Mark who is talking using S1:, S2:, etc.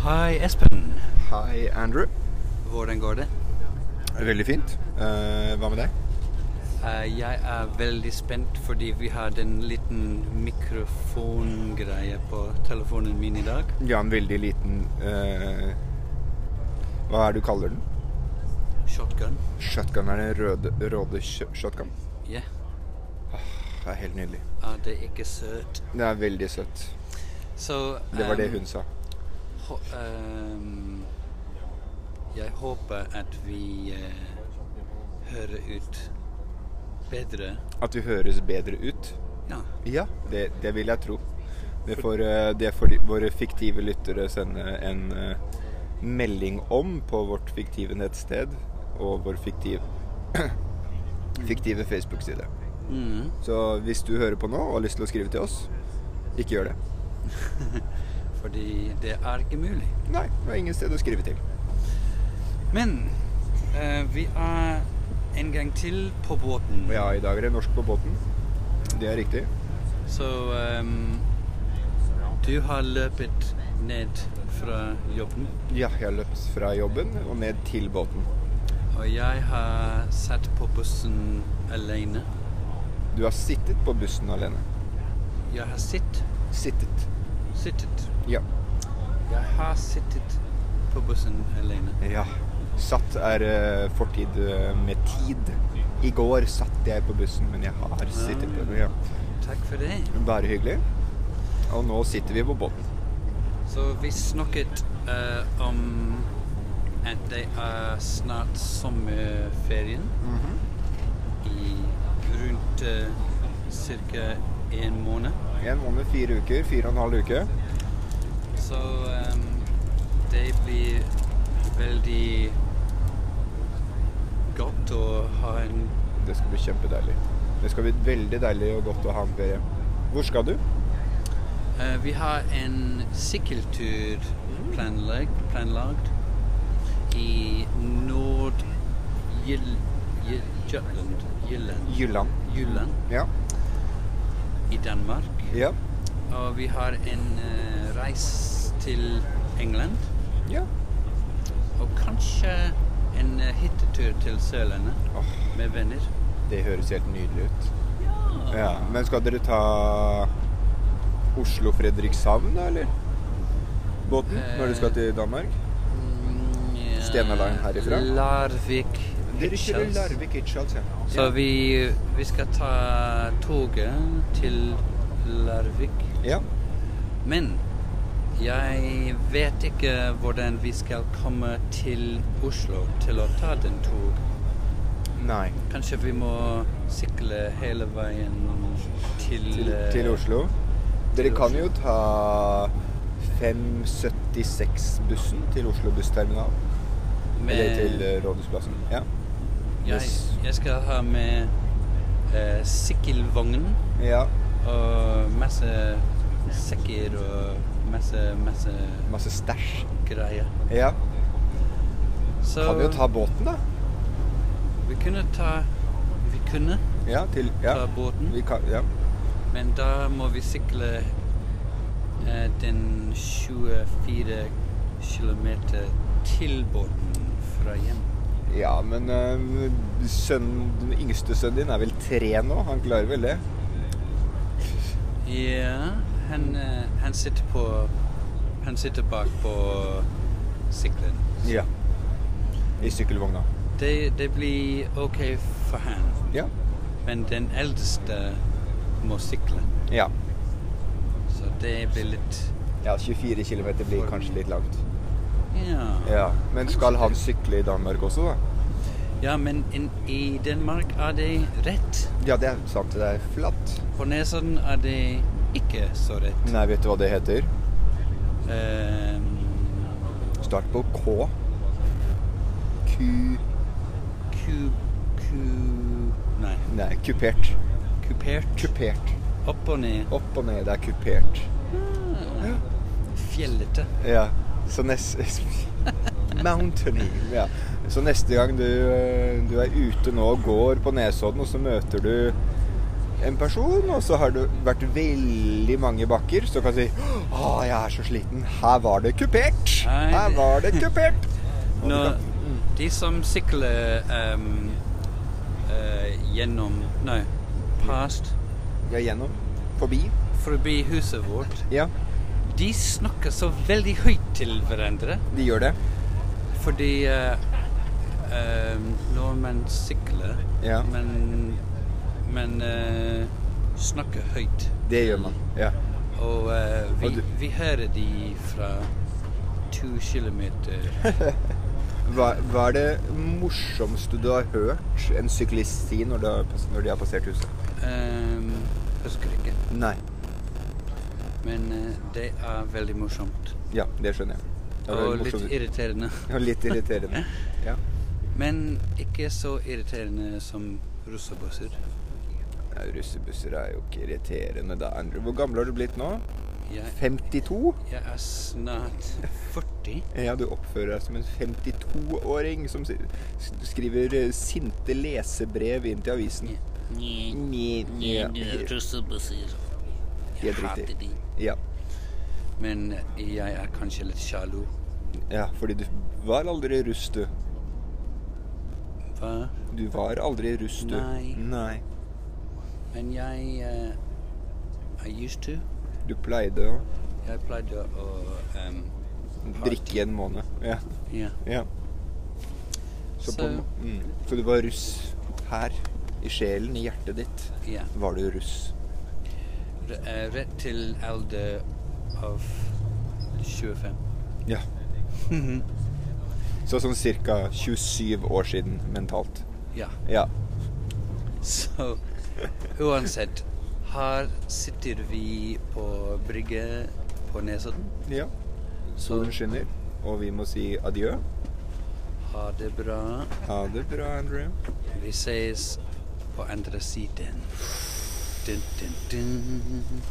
S1: Hei, Espen.
S2: Hei, Andrew.
S1: Hvordan går det?
S2: Veldig fint. Eh, hva med deg?
S1: Eh, jeg er veldig spent fordi vi hadde en liten mikrofongreie på telefonen min i dag.
S2: Vi har en veldig liten eh, Hva er det du kaller den?
S1: Shotgun.
S2: Shotgun er den røde, røde sh- shotgun.
S1: Ja,
S2: Det er helt nydelig.
S1: ah, det er ikke søt.
S2: Det er veldig søtt.
S1: Så
S2: Det var det
S1: ehm,
S2: hun sa.
S1: hå- ehm, Jeg håper at vi eh, hører ut bedre.
S2: At vi høres bedre ut.
S1: Ja.
S2: Ja, det, det vil jeg tro. Det får, eh, det får de, våre fiktive lyttere sende en eh, melding om på vårt fiktive nettsted og vår fiktiv, fiktive Facebook-side.
S1: Mm.
S2: Så hvis du hører på nå og har lyst til å skrive til oss, ikke gjør det.
S1: Fordi det er ikke mulig.
S2: Nei, det er ingen sted å skrive til.
S1: Men eh, vi er en gang til på båten.
S2: Og ja, i dag er det norsk på båten. Det er riktig.
S1: Så ehm, du har løpet ned fra jobben,
S2: Ja, jeg har løpt fra jobben og ned til båten.
S1: og jeg har satt på bussen alene.
S2: Du har sittet på bussen alene.
S1: Jeg har sitt,
S2: Sittet.
S1: sittet.
S2: Ja.
S1: Jeg har sittet på bussen alene.
S2: Ja. Satt er eh, fortid eh, med tid. I går satt jeg på bussen, men jeg har sittet på den. Ja.
S1: Takk for det.
S2: Bare hyggelig. Og nå sitter vi på båten.
S1: Så vi snakket eh, om at det er snart sommerferien i rundt uh, cirka en måned.
S2: En måned, fire uker. Fire og en halv uke.
S1: Så ehm, det blir veldig godt å ha en
S2: Det skal bli kjempedeilig. Det skal bli veldig deilig og godt å ha en ferie. Hvor skal du?
S1: eh, Vi har en sykkeltur planlagt, planlagt i Nord-Jylland Jylland,
S2: Jylland.
S1: Jylland
S2: Ja.
S1: i Danmark.
S2: Ja.
S1: Og vi har en eh, reis til England.
S2: ja.
S1: Og kanskje en eh, hyttetur til Sørlandet
S2: Åh,
S1: med venner.
S2: det høres helt nydelig ut. Ja. Men skal dere ta Oslo-Fredrikshavn, da, eller? Båten? Når du skal til Danmark?
S1: Mm, ja.
S2: Stena Line herifra?
S1: Larvik.
S2: Dere kjører
S1: Hirtshals.
S2: Larvik Hirtshals, ja.
S1: Så vi, vi skal ta toget til Larvik.
S2: Ja.
S1: Men jeg vet ikke hvordan vi skal komme til Oslo til å ta den tog.
S2: Nei.
S1: Kanskje vi må sykle hele veien til,
S2: Til,
S1: eh,
S2: til Oslo. Dere
S1: til
S2: kan
S1: Oslo.
S2: jo ta 576-bussen til Oslo bussterminal. Eller
S1: med-
S2: til eh, Rådhusplassen. Ja.
S1: Jeg,
S2: Yes.
S1: jeg skal ha med eh, sykkelvogn.
S2: ja.
S1: Og masse sekker og masse, masse
S2: Masse stæsj.
S1: greier.
S2: Ja.
S1: Så
S2: Kan jo ta båten, da.
S1: vi kunne ta Vi kunne
S2: Ja, til ja.
S1: ta båten,
S2: Vi kan, ja.
S1: men da må vi sykle eh, den 24 km til båten fra hjem.
S2: ja, men eh, sønnen, den yngste sønnen din er vel tre nå? Han klarer vel det?
S1: Ja, han, eh, han sitter på Han sitter bak på sykkelen.
S2: Ja. I sykkelvogna.
S1: Det, det blir OK for han.
S2: Ja.
S1: Men den eldste må sykle,
S2: ja.
S1: så det blir litt
S2: Ja, 24 km blir kanskje litt langt.
S1: Ja.
S2: Ja. Men skal han sykle i Danmark også, da?
S1: Ja, men in, i Danmark er det rett.
S2: Ja, det er sant. Det er flatt.
S1: På Nesodden er det ikke så rett.
S2: Nei, vet du hva det heter?
S1: Ehm,
S2: Start på K. Ku...
S1: ku... ku... Nei.
S2: Nei, kupert.
S1: Kupert.
S2: Kupert.
S1: Opp og ned.
S2: Opp og ned. Det er kupert.
S1: Ah, Fjellete.
S2: Ja. Så neste Mountainy. Ja. Så neste gang du, eh, du er ute nå og går på Nesodden, og så møter du en person, og så har det vært veldig mange bakker, så kan du si Å, jeg er så sliten. Her var det kupert!
S1: Nei,
S2: Her
S1: det-
S2: var det kupert! Og du
S1: Når
S2: kan-
S1: mm. de som sykler ehm, eh, gjennom Nei, past
S2: mm, Ja, gjennom. Forbi.
S1: forbi huset vårt,
S2: Ja,
S1: de snakker så veldig høyt til hverandre.
S2: de gjør det.
S1: Fordi eh, ehm, nordmenn sykler,
S2: Ja.
S1: men, men eh, snakker høyt.
S2: Det gjør man. Ja.
S1: Og eh,
S2: Og
S1: vi,
S2: du-
S1: vi hører de fra to kilometer.
S2: Hva, hva er det morsomste du har hørt en syklist si når, du har, når de har passert huset?
S1: Um, husker ikke.
S2: Nei.
S1: Men eh, det er veldig morsomt.
S2: Ja, det skjønner jeg. Det er
S1: Og
S2: veldig
S1: litt
S2: morsomt.
S1: irriterende.
S2: Ja, litt irriterende. Ja.
S1: Men ikke så irriterende som russebusser.
S2: Ja, Russebusser er jo ikke irriterende da, Andrew. Hvor gammel har du blitt nå?
S1: Jeg,
S2: 52?
S1: jeg er snart 40.
S2: Ja, du oppfører deg som en 52-åring som si- skriver eh, sinte lesebrev inn til avisen. Nje, nje.
S1: Jeg
S2: Helt
S1: hater
S2: riktig.
S1: de.
S2: Ja.
S1: Men eh, jeg er kanskje litt sjalu.
S2: ja, fordi du var aldri russ, du.
S1: Hva?
S2: Du var aldri russ, du.
S1: Nei.
S2: Nei.
S1: Men jeg eh, I used to.
S2: Du pleide å
S1: Jeg pleide å um,
S2: drikke i en måned. Ja.
S1: Ja.
S2: ja. Så, på,
S1: Så-
S2: en må- mm. Så du var russ her, i sjelen, i hjertet ditt,
S1: ja.
S2: var du russ.
S1: R- eh, Rett til alder av 25.
S2: Ja. Mhm. Så sånn ca. 27 år siden mentalt.
S1: Ja.
S2: Ja.
S1: Så uansett Her sitter vi på brygge på Nesodden.
S2: ja.
S1: Så
S2: Solen skinner, og vi må si adjø.
S1: ha det bra.
S2: Ha det bra, Andrew.
S1: Vi ses på andre siden. Dun, dun, dun.